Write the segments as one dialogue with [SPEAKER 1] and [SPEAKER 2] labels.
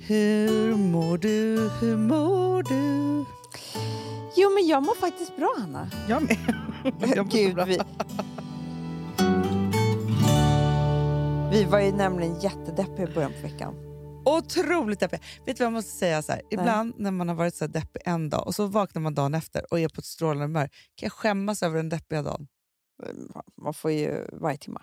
[SPEAKER 1] Hur mår du? Hur mår du?
[SPEAKER 2] Jo, men jag mår faktiskt bra, Hanna.
[SPEAKER 1] Jag med. Jag mår
[SPEAKER 2] Gud,
[SPEAKER 1] bra.
[SPEAKER 2] vi... vi var ju nämligen jättedeppiga i början på veckan.
[SPEAKER 1] Otroligt deppig. Vet du vad jag måste säga? Så här, ibland när man har varit så här deppig en dag och så vaknar man dagen efter och är på ett strålande humör, kan jag skämmas över den deppiga dagen?
[SPEAKER 2] Man får ju varje timme.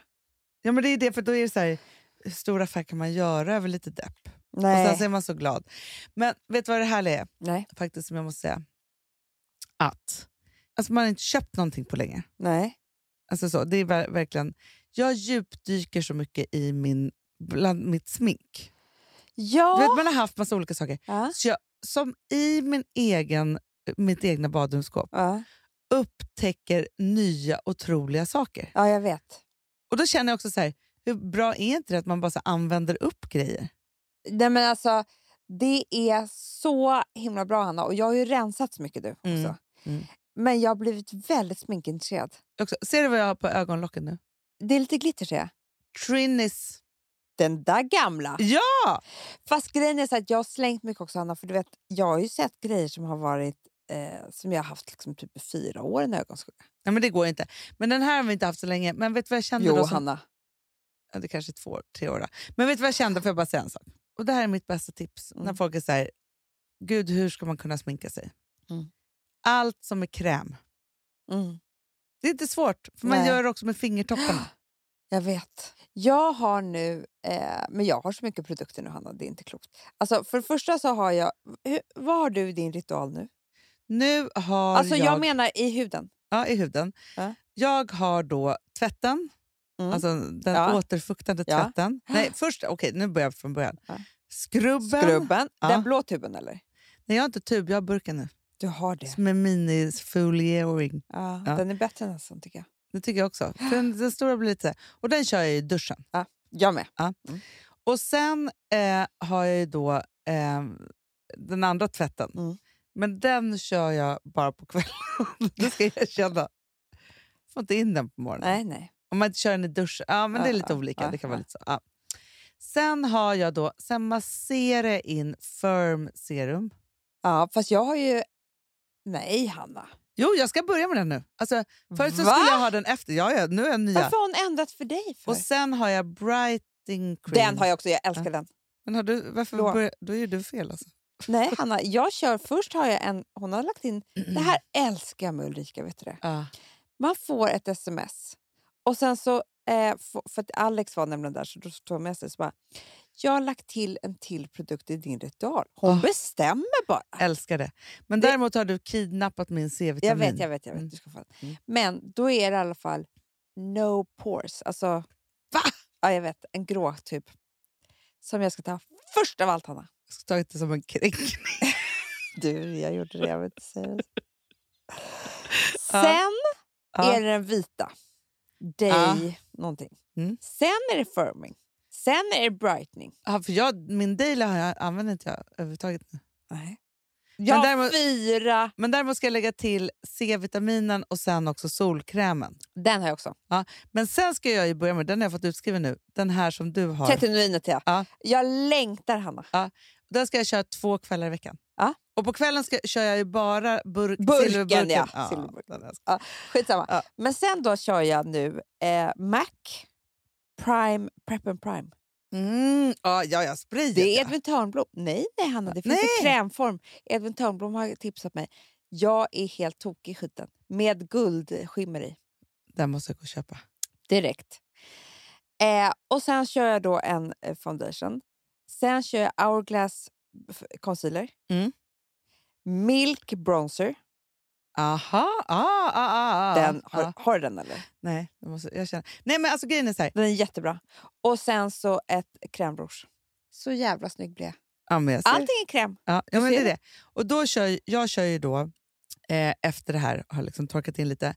[SPEAKER 1] Ja, men det är det, för då är det så här, hur stor affär kan man göra över lite depp? Och sen
[SPEAKER 2] Nej.
[SPEAKER 1] så är man så glad. Men vet du vad det härliga är?
[SPEAKER 2] Nej.
[SPEAKER 1] Faktiskt som jag måste säga. Att alltså man har inte köpt någonting på länge.
[SPEAKER 2] Nej.
[SPEAKER 1] Alltså så, det är ver- verkligen, jag djupdyker så mycket i min, bland mitt smink. Du
[SPEAKER 2] Ja.
[SPEAKER 1] vet, man har haft massa olika saker.
[SPEAKER 2] Ja.
[SPEAKER 1] Så jag, som i min egen, mitt egna badrumsskåp
[SPEAKER 2] Ja.
[SPEAKER 1] upptäcker nya otroliga saker.
[SPEAKER 2] ja, jag vet.
[SPEAKER 1] Och Då känner jag också så här, hur bra är inte det att man bara så använder upp grejer?
[SPEAKER 2] Nej, men alltså, det är så himla bra, Hanna. Och jag har ju rensat så mycket du också.
[SPEAKER 1] Mm. Mm.
[SPEAKER 2] Men jag har blivit väldigt sminkintresserad.
[SPEAKER 1] Jag Också, ser du vad jag har på ögonlocken nu?
[SPEAKER 2] Det är lite glitter, ser jag.
[SPEAKER 1] Trinis.
[SPEAKER 2] Den där gamla.
[SPEAKER 1] Ja!
[SPEAKER 2] Fast grejen är så att jag har slängt mycket också, Hanna. För du vet, jag har ju sett grejer som har varit eh, som jag har haft liksom typ i fyra år i en ögonskugga.
[SPEAKER 1] Nej, men det går inte. Men den här har vi inte haft så länge. Men vet du vad jag kände
[SPEAKER 2] Jo,
[SPEAKER 1] då? Som,
[SPEAKER 2] Hanna.
[SPEAKER 1] ja, det kanske är två, år, tre år då. Men vet du vad jag kände? Får jag bara säga en sak? Och det här är mitt bästa tips. När
[SPEAKER 2] Mm.
[SPEAKER 1] folk är så här, gud hur ska man kunna sminka sig?
[SPEAKER 2] Mm.
[SPEAKER 1] Allt som är kräm.
[SPEAKER 2] Mm,
[SPEAKER 1] Det är inte svårt, för man
[SPEAKER 2] Nej.
[SPEAKER 1] gör det också med fingertopparna.
[SPEAKER 2] jag vet. Jag har nu... Eh, men jag har så mycket produkter nu, Hanna. Det är inte klokt. Alltså, för det första så har jag... Hur, vad har du i din ritual nu?
[SPEAKER 1] Nu har
[SPEAKER 2] Alltså, jag,
[SPEAKER 1] jag...
[SPEAKER 2] menar i huden.
[SPEAKER 1] ja, I huden.
[SPEAKER 2] Ja.
[SPEAKER 1] Jag har då tvätten,
[SPEAKER 2] Mm.
[SPEAKER 1] alltså den
[SPEAKER 2] Ja.
[SPEAKER 1] återfuktande
[SPEAKER 2] Ja.
[SPEAKER 1] tvätten. Nej, först, okej, nu börjar jag från början.
[SPEAKER 2] Ja.
[SPEAKER 1] Skrubben.
[SPEAKER 2] Skrubben.
[SPEAKER 1] Ja.
[SPEAKER 2] Den blå tuben, eller?
[SPEAKER 1] Nej, jag har inte tub, jag har burken nu.
[SPEAKER 2] Du har det.
[SPEAKER 1] Med minifoliering.
[SPEAKER 2] Ja,
[SPEAKER 1] Ja.
[SPEAKER 2] Den är bättre än den sån, tycker jag.
[SPEAKER 1] Det tycker jag också. För den, den stora blir lite... Och den kör jag i duschen.
[SPEAKER 2] Jag med.
[SPEAKER 1] Och sen eh, har jag ju då eh, den andra tvätten.
[SPEAKER 2] Mm.
[SPEAKER 1] Men den kör jag bara på kvällen. det ska jag erkänna. Får inte in den på morgonen.
[SPEAKER 2] Nej, nej.
[SPEAKER 1] Om man inte kör den i duschen. Ja, men det är
[SPEAKER 2] Ja,
[SPEAKER 1] lite
[SPEAKER 2] ja,
[SPEAKER 1] olika.
[SPEAKER 2] ja,
[SPEAKER 1] det kan
[SPEAKER 2] ja.
[SPEAKER 1] vara lite så. Ja. Sen har jag då, sen masserar jag in firm serum.
[SPEAKER 2] Ja, fast jag har ju... Nej, Hanna.
[SPEAKER 1] Jo, jag ska börja med den nu. Alltså, förut så
[SPEAKER 2] Va?
[SPEAKER 1] skulle jag ha den efter. Ja, ja, nu är jag nya.
[SPEAKER 2] Varför har hon ändrat för dig? För?
[SPEAKER 1] Och sen har jag brighting cream.
[SPEAKER 2] Den har jag också. Jag älskar
[SPEAKER 1] Ja.
[SPEAKER 2] den.
[SPEAKER 1] Men har du, varför
[SPEAKER 2] Då.
[SPEAKER 1] börjar, då gör du fel alltså.
[SPEAKER 2] Nej, Hanna. Jag kör... Först har jag en... Hon har lagt in... Det här
[SPEAKER 1] Mm.
[SPEAKER 2] älskar jag med Ulrika, vet du det?
[SPEAKER 1] Ja.
[SPEAKER 2] Man får ett sms. Och sen så... Eh, få- för att Alex var nämligen där, så då tog jag med sig så bara... Jag har lagt till en till produkt i din ritual. Hon
[SPEAKER 1] Ah.
[SPEAKER 2] bestämmer bara.
[SPEAKER 1] Älskar det. Men
[SPEAKER 2] Det-
[SPEAKER 1] däremot har du kidnappat min C-vitamin.
[SPEAKER 2] Jag vet, jag vet. jag vet.
[SPEAKER 1] Mm.
[SPEAKER 2] Du ska få den.
[SPEAKER 1] Mm.
[SPEAKER 2] Men då är det i alla fall no pores. Alltså,
[SPEAKER 1] Va?
[SPEAKER 2] Ja, jag vet. En grå typ. Som jag ska ta först av allt, Hanna.
[SPEAKER 1] Jag ska ta det som en kränkning.
[SPEAKER 2] Du, jag gjorde det. Jag vill inte säga det.
[SPEAKER 1] Ja.
[SPEAKER 2] Sen
[SPEAKER 1] Ja.
[SPEAKER 2] är det den vita. Day någonting.
[SPEAKER 1] Mm.
[SPEAKER 2] Sen är det firming. Sen är det brightening.
[SPEAKER 1] Ja, för jag, min daily har jag, använder inte jag överhuvudtaget nu.
[SPEAKER 2] Nej. Jag har
[SPEAKER 1] däremot-
[SPEAKER 2] fyra.
[SPEAKER 1] Men däremot ska jag lägga till C-vitaminen och sen också solkrämen.
[SPEAKER 2] Den har jag också.
[SPEAKER 1] Men sen ska jag ju börja med, den har jag fått utskriven nu, den här som du har.
[SPEAKER 2] 30 till jag.
[SPEAKER 1] Ja.
[SPEAKER 2] Jag längtar, Hanna.
[SPEAKER 1] Den ska jag köra två kvällar i veckan.
[SPEAKER 2] Ja.
[SPEAKER 1] Och på kvällen ska, kör jag ju bara burk,
[SPEAKER 2] Burken,
[SPEAKER 1] silverburken.
[SPEAKER 2] ja. Silverburken.
[SPEAKER 1] den älskar jag.
[SPEAKER 2] Skitsamma.
[SPEAKER 1] Ja.
[SPEAKER 2] Men sen då kör jag nu eh, Mac Prime Prep and Prime.
[SPEAKER 1] Mm, ja, ja, jag sprayar
[SPEAKER 2] Det är Edvin Törnblom. Nej, nej Hanna, det finns i krämform. Edvin Törnblom har tipsat mig. Jag är helt tokig i skiten. Med guldskimmer i.
[SPEAKER 1] Den måste jag gå och köpa.
[SPEAKER 2] Direkt. Eh, och sen kör jag då en eh, foundation. Sen kör jag Hourglass f- concealer.
[SPEAKER 1] Mm.
[SPEAKER 2] Milk bronzer.
[SPEAKER 1] Aha, ah, ah, ah,
[SPEAKER 2] Den,
[SPEAKER 1] ah,
[SPEAKER 2] har,
[SPEAKER 1] ah.
[SPEAKER 2] har du den eller?
[SPEAKER 1] Nej, jag måste, jag känner. Nej, men alltså grejen är så här.
[SPEAKER 2] Den är jättebra. Och sen så ett crème rouge. Så jävla snygg blev jag.
[SPEAKER 1] Ja, men jag ser.
[SPEAKER 2] Allting är kräm.
[SPEAKER 1] Ja, ja, men det
[SPEAKER 2] ser
[SPEAKER 1] är det. Och då kör, ju- jag kör ju då, eh, efter det här har liksom torkat in lite,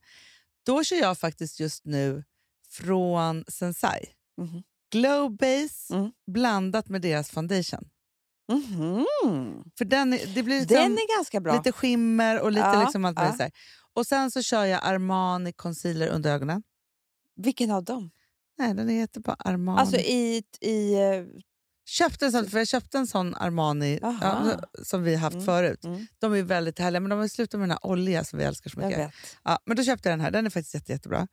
[SPEAKER 1] då kör jag faktiskt just nu från Sensai.
[SPEAKER 2] Mhm.
[SPEAKER 1] Glow Base
[SPEAKER 2] Mm.
[SPEAKER 1] blandat med deras foundation.
[SPEAKER 2] Mhm.
[SPEAKER 1] För den, är- det blir liksom
[SPEAKER 2] Den är ganska bra.
[SPEAKER 1] lite skimmer och lite
[SPEAKER 2] Ja,
[SPEAKER 1] liksom allt
[SPEAKER 2] ja.
[SPEAKER 1] möjligt. så här. Och sen så kör jag Armani concealer under ögonen.
[SPEAKER 2] Vilken av dem?
[SPEAKER 1] Nej, den heter bara Armani.
[SPEAKER 2] Alltså i, i eh,
[SPEAKER 1] Köpte en sån, för jag köpte en sån Armani
[SPEAKER 2] Aha.
[SPEAKER 1] ja, som vi haft
[SPEAKER 2] Mm,
[SPEAKER 1] förut.
[SPEAKER 2] mm.
[SPEAKER 1] De är väldigt härliga, men de har slutat med den här olja som vi älskar så
[SPEAKER 2] Jag
[SPEAKER 1] mycket.
[SPEAKER 2] vet.
[SPEAKER 1] Ja, men då köpte jag den här. Den är faktiskt jätte, jättebra.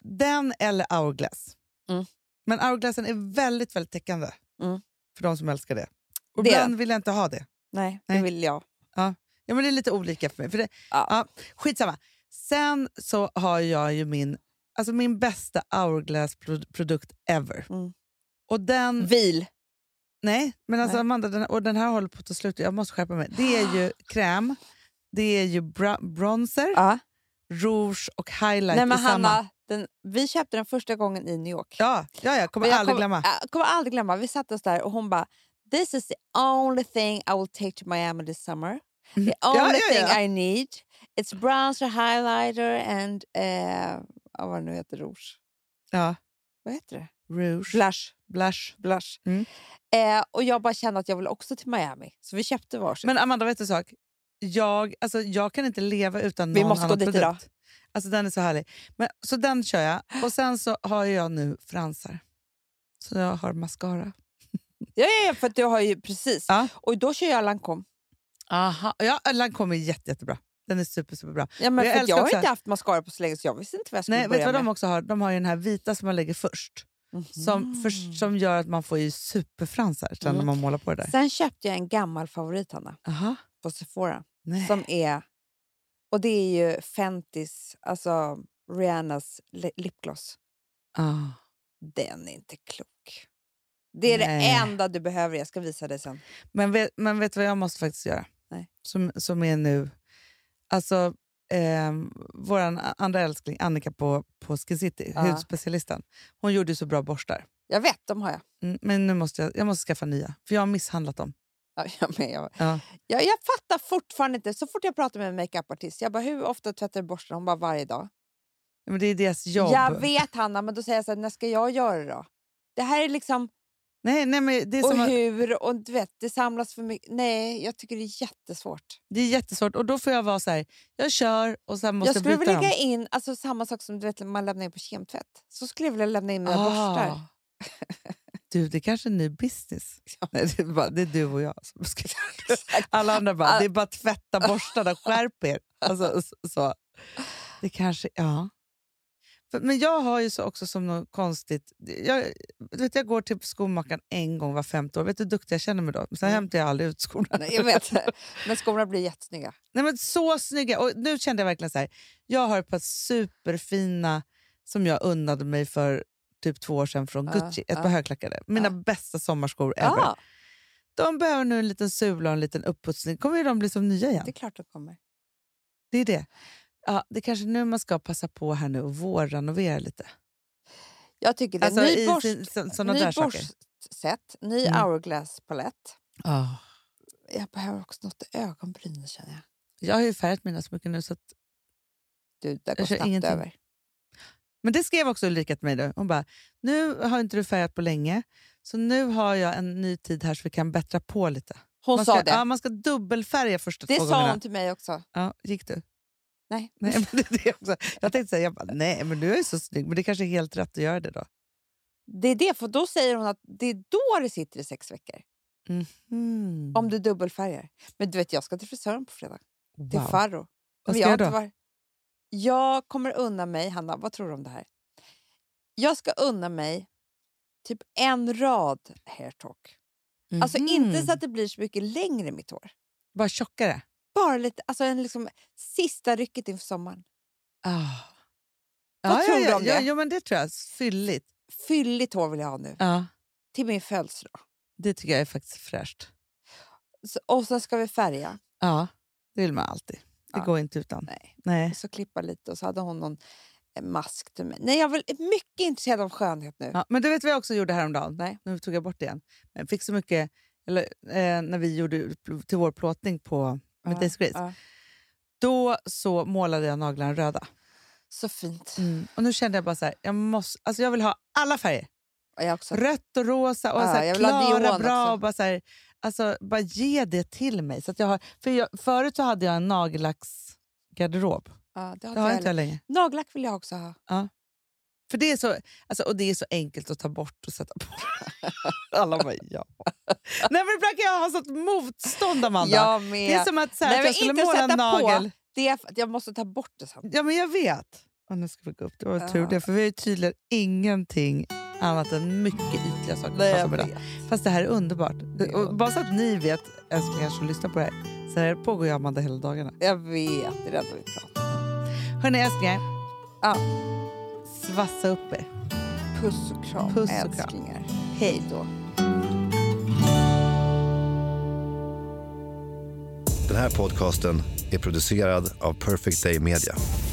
[SPEAKER 1] Den eller Hourglass.
[SPEAKER 2] Mm.
[SPEAKER 1] Men Hourglassen är väldigt, väldigt täckande
[SPEAKER 2] Mm.
[SPEAKER 1] för de som älskar det. Och
[SPEAKER 2] Det är
[SPEAKER 1] ibland vill jag inte ha det.
[SPEAKER 2] Nej,
[SPEAKER 1] Nej.
[SPEAKER 2] det vill jag.
[SPEAKER 1] Ja, men det är lite olika för mig. För det,
[SPEAKER 2] Ja.
[SPEAKER 1] ja, skitsamma. Sen så har jag ju min, alltså min bästa Hourglass-produkt ever.
[SPEAKER 2] Mm.
[SPEAKER 1] Och den...
[SPEAKER 2] Vil.
[SPEAKER 1] Nej, men alltså
[SPEAKER 2] Nej.
[SPEAKER 1] Amanda, den, och den här håller på att ta slut. Jag måste skärpa mig. Det är ju kräm, det är ju bra, bronzer,
[SPEAKER 2] Ja.
[SPEAKER 1] rouge och highlight
[SPEAKER 2] Nej, men
[SPEAKER 1] i samma.
[SPEAKER 2] Hanna, den, vi köpte den första gången i New York.
[SPEAKER 1] Ja, ja, jag kommer
[SPEAKER 2] Men jag
[SPEAKER 1] aldrig glömma.
[SPEAKER 2] Jag kommer aldrig glömma. Vi satte oss där och hon bara “This is the only thing I will take to Miami this summer. The
[SPEAKER 1] Mm. ja,
[SPEAKER 2] only
[SPEAKER 1] ja, ja.
[SPEAKER 2] thing I need. It's bronzer, highlighter and...” eh, ja, Vad nu heter rouge?
[SPEAKER 1] Ja.
[SPEAKER 2] Vad heter det?
[SPEAKER 1] Rouge,
[SPEAKER 2] Blush.
[SPEAKER 1] blush.
[SPEAKER 2] Blush.
[SPEAKER 1] Mm.
[SPEAKER 2] Eh, och jag bara kände att jag ville också till Miami. Så vi köpte varsin.
[SPEAKER 1] Men Amanda, vet du en sak? Jag, alltså, jag kan inte leva utan
[SPEAKER 2] Vi
[SPEAKER 1] någon
[SPEAKER 2] måste gå
[SPEAKER 1] annan
[SPEAKER 2] dit
[SPEAKER 1] produkt.
[SPEAKER 2] idag.
[SPEAKER 1] Alltså, den är så härlig. Men, så den kör jag. Och sen så har jag nu fransar. Så jag har mascara.
[SPEAKER 2] ja, ja, ja, för att du har ju precis.
[SPEAKER 1] Ja.
[SPEAKER 2] Och då kör jag Lancome.
[SPEAKER 1] Aha. Ja, Lancome är jätte, jättebra. Den är super, superbra.
[SPEAKER 2] Ja,
[SPEAKER 1] Men
[SPEAKER 2] men
[SPEAKER 1] jag
[SPEAKER 2] jag, för att
[SPEAKER 1] älskar
[SPEAKER 2] jag har
[SPEAKER 1] också-
[SPEAKER 2] inte haft mascara på så länge så jag visste inte vad jag skulle
[SPEAKER 1] Nej, vet du
[SPEAKER 2] börja
[SPEAKER 1] vad de
[SPEAKER 2] med. Mhm.
[SPEAKER 1] också har? De har ju den här vita som man lägger först. Som, för, som gör att man får ju superfransar sen när
[SPEAKER 2] Mm.
[SPEAKER 1] man målar på det där.
[SPEAKER 2] Sen köpte jag en gammal favorit, Hanna,
[SPEAKER 1] Aha.
[SPEAKER 2] på Sephora.
[SPEAKER 1] Nej.
[SPEAKER 2] Som är... Och det är ju Fentis, alltså Rihannas li- lipgloss.
[SPEAKER 1] Ah.
[SPEAKER 2] Den är inte klok. Det är det
[SPEAKER 1] Nej.
[SPEAKER 2] enda du behöver. Jag ska visa dig sen.
[SPEAKER 1] Men, vet, men vet du vad jag måste faktiskt göra?
[SPEAKER 2] Nej.
[SPEAKER 1] Som, som är nu... Alltså, eh, Vår andra älskling, Annika på, på Skin City,
[SPEAKER 2] Ja.
[SPEAKER 1] hudspecialisten, hon gjorde ju så bra borstar.
[SPEAKER 2] Jag vet, de har jag.
[SPEAKER 1] Mm, men nu måste jag, jag måste skaffa nya, för jag har misshandlat dem.
[SPEAKER 2] Ja, jag, med, jag,
[SPEAKER 1] Ja.
[SPEAKER 2] jag, jag fattar fortfarande inte. Så fort jag pratar med en makeupartist, jag bara hur ofta tvättar du borsten? Hon bara varje dag.
[SPEAKER 1] Men det är deras jobb.
[SPEAKER 2] Jag vet Hanna, men då säger jag så här, när ska jag göra det då? Det här är liksom,
[SPEAKER 1] Nej, nej, men det, är
[SPEAKER 2] och
[SPEAKER 1] som att,
[SPEAKER 2] hur och du vet, det samlas för mycket. Nej, jag tycker det är jättesvårt.
[SPEAKER 1] det är jättesvårt. Och då får jag vara så här, jag kör och sen måste
[SPEAKER 2] Jag
[SPEAKER 1] jag,
[SPEAKER 2] skulle vilja
[SPEAKER 1] byta dem.
[SPEAKER 2] lägga in alltså, samma sak som du vet, man lämnar in på kemtvätt. Så skulle jag vilja lämna in mina borstar.
[SPEAKER 1] Ah. Du, det är kanske är en ny business. Nej, det, är bara, det är du och jag som ska Alla andra bara,
[SPEAKER 2] Ah.
[SPEAKER 1] det är bara att tvätta borstarna, skärp er. Alltså, så, så. Det kanske, ja. För, men jag har ju så också som något konstigt... Jag, du vet, jag går till skomakaren en gång var femte år. Vet du hur duktig jag känner mig då? Sen
[SPEAKER 2] Mm.
[SPEAKER 1] hämtar jag aldrig ut skorna.
[SPEAKER 2] Nej, jag vet. Men skorna blir jättesnygga.
[SPEAKER 1] Nej, men så snygga! Och nu kände jag verkligen så här. Jag har ett par superfina som jag unnade mig för typ två år sedan från
[SPEAKER 2] Ja,
[SPEAKER 1] Gucci. ett
[SPEAKER 2] ja.
[SPEAKER 1] par högklackade. Mina bästa sommarskor ever.
[SPEAKER 2] Ja,
[SPEAKER 1] De behöver nu en liten sula och en liten upputsning. Kommer ju de bli som nya
[SPEAKER 2] det är
[SPEAKER 1] igen?
[SPEAKER 2] klart de kommer.
[SPEAKER 1] Det är det. Ja, det är kanske nu man ska passa på här nu och vårrenovera lite.
[SPEAKER 2] Jag tycker det. ny
[SPEAKER 1] Alltså, i
[SPEAKER 2] borst,
[SPEAKER 1] sin- så, såna
[SPEAKER 2] ny
[SPEAKER 1] där saker.
[SPEAKER 2] borstset, ny
[SPEAKER 1] Mm.
[SPEAKER 2] hourglass-palett.
[SPEAKER 1] Ja.
[SPEAKER 2] Jag behöver också något i ögonbrynen känner jag.
[SPEAKER 1] Jag har ju färgat mina så mycket nu. Så att,
[SPEAKER 2] Du, det går
[SPEAKER 1] Jag kör
[SPEAKER 2] snabbt
[SPEAKER 1] ingenting.
[SPEAKER 2] över.
[SPEAKER 1] men det skrev också Ulrika till mig. Då. Hon bara, nu har inte du färgat på länge. Så nu har jag en ny tid här så vi kan bättra på lite.
[SPEAKER 2] Hon
[SPEAKER 1] man
[SPEAKER 2] sa
[SPEAKER 1] ska,
[SPEAKER 2] det.
[SPEAKER 1] Ja, man ska dubbelfärga första
[SPEAKER 2] det
[SPEAKER 1] två
[SPEAKER 2] sa
[SPEAKER 1] gångerna.
[SPEAKER 2] hon till mig också.
[SPEAKER 1] Ja, gick du?
[SPEAKER 2] Nej.
[SPEAKER 1] Nej, men det, är det också. Jag tänkte säga, jag bara, nej men du är ju så snygg. Men det kanske är helt rätt att göra det då.
[SPEAKER 2] Det är det, för då säger hon att det är då det sitter i sex veckor.
[SPEAKER 1] Mm.
[SPEAKER 2] Om du dubbelfärgar. Men du vet, jag ska till frisören på fredag. Till
[SPEAKER 1] Wow.
[SPEAKER 2] Farro.
[SPEAKER 1] Vad
[SPEAKER 2] Men
[SPEAKER 1] ska
[SPEAKER 2] har
[SPEAKER 1] jag
[SPEAKER 2] inte
[SPEAKER 1] då?
[SPEAKER 2] varit- jag kommer unna mig, Hanna, vad tror du om det här? Jag ska unna mig typ en rad hair talk. Alltså inte
[SPEAKER 1] Mhm.
[SPEAKER 2] så att det blir så mycket längre i mitt hår.
[SPEAKER 1] Bara tjockare?
[SPEAKER 2] Bara lite, alltså en liksom sista rycket inför sommaren.
[SPEAKER 1] Ah.
[SPEAKER 2] Vad
[SPEAKER 1] ja,
[SPEAKER 2] tror
[SPEAKER 1] ja,
[SPEAKER 2] du om
[SPEAKER 1] ja,
[SPEAKER 2] det?
[SPEAKER 1] Ja, men det tror jag. Fylligt.
[SPEAKER 2] Fylligt hår vill jag ha nu,
[SPEAKER 1] Ja.
[SPEAKER 2] till min födelsedag.
[SPEAKER 1] Det tycker jag är faktiskt fräscht.
[SPEAKER 2] Så- Och sen ska vi färga.
[SPEAKER 1] Ja. Det vill man alltid. Det
[SPEAKER 2] Ja.
[SPEAKER 1] går inte utan.
[SPEAKER 2] Nej.
[SPEAKER 1] Nej.
[SPEAKER 2] Och så klippa lite och så hade hon någon eh, mask till mig. Nej, jag vill, är mycket intresserad av skönhet nu.
[SPEAKER 1] Ja, men du vet vad jag också gjorde häromdagen?
[SPEAKER 2] Nej.
[SPEAKER 1] Nu tog jag bort det igen. Men jag fick så mycket, eller, eh, när vi gjorde pl- till vår plåtning på med
[SPEAKER 2] Ja,
[SPEAKER 1] Days Grace,
[SPEAKER 2] ja.
[SPEAKER 1] då så målade jag naglarna röda.
[SPEAKER 2] Så fint.
[SPEAKER 1] Och nu kände jag bara så här, jag, måste, alltså jag vill ha alla färger.
[SPEAKER 2] Och jag också.
[SPEAKER 1] Rött och rosa och
[SPEAKER 2] Ja,
[SPEAKER 1] så här,
[SPEAKER 2] jag vill ha
[SPEAKER 1] klara,
[SPEAKER 2] neon
[SPEAKER 1] bra.
[SPEAKER 2] också.
[SPEAKER 1] Och bara, så här, alltså, bara ge det till mig. Så att jag har, för jag, förut så hade jag en nagellacksgarderob.
[SPEAKER 2] Ja, det har
[SPEAKER 1] Det har
[SPEAKER 2] jag
[SPEAKER 1] inte jag längre.
[SPEAKER 2] Nagellack vill jag också ha.
[SPEAKER 1] Ja. För det är så, alltså, och det är så enkelt att ta bort och sätta på. Alla bara ja. Nej, men ibland kan jag ha sånt motstånd, Amanda.
[SPEAKER 2] Jag
[SPEAKER 1] Det
[SPEAKER 2] med.
[SPEAKER 1] är som att, så här,
[SPEAKER 2] Nej,
[SPEAKER 1] att
[SPEAKER 2] men
[SPEAKER 1] jag skulle
[SPEAKER 2] inte
[SPEAKER 1] måla en
[SPEAKER 2] sätta på.
[SPEAKER 1] nagel.
[SPEAKER 2] Det är för att jag måste ta bort det sen.
[SPEAKER 1] Ja, men jag vet. Och nu ska vi gå upp. Det var
[SPEAKER 2] Ja.
[SPEAKER 1] tur det, för vi har ju tydligen ingenting annat än mycket ytliga saker att prata om idag. Fast det här är underbart.
[SPEAKER 2] Det är
[SPEAKER 1] och
[SPEAKER 2] underbart.
[SPEAKER 1] bara så att ni vet, älsklingar som lyssnar på det här, så här pågår jag och Amanda hela dagarna.
[SPEAKER 2] Jag vet, det är det enda vi pratar om.
[SPEAKER 1] Hörni älsklingar,
[SPEAKER 2] Ja.
[SPEAKER 1] svassa upp er.
[SPEAKER 2] Puss och kram,
[SPEAKER 1] Puss och kram.
[SPEAKER 2] älsklingar. Hej då.
[SPEAKER 3] Den här podcasten är producerad av Perfect Day Media.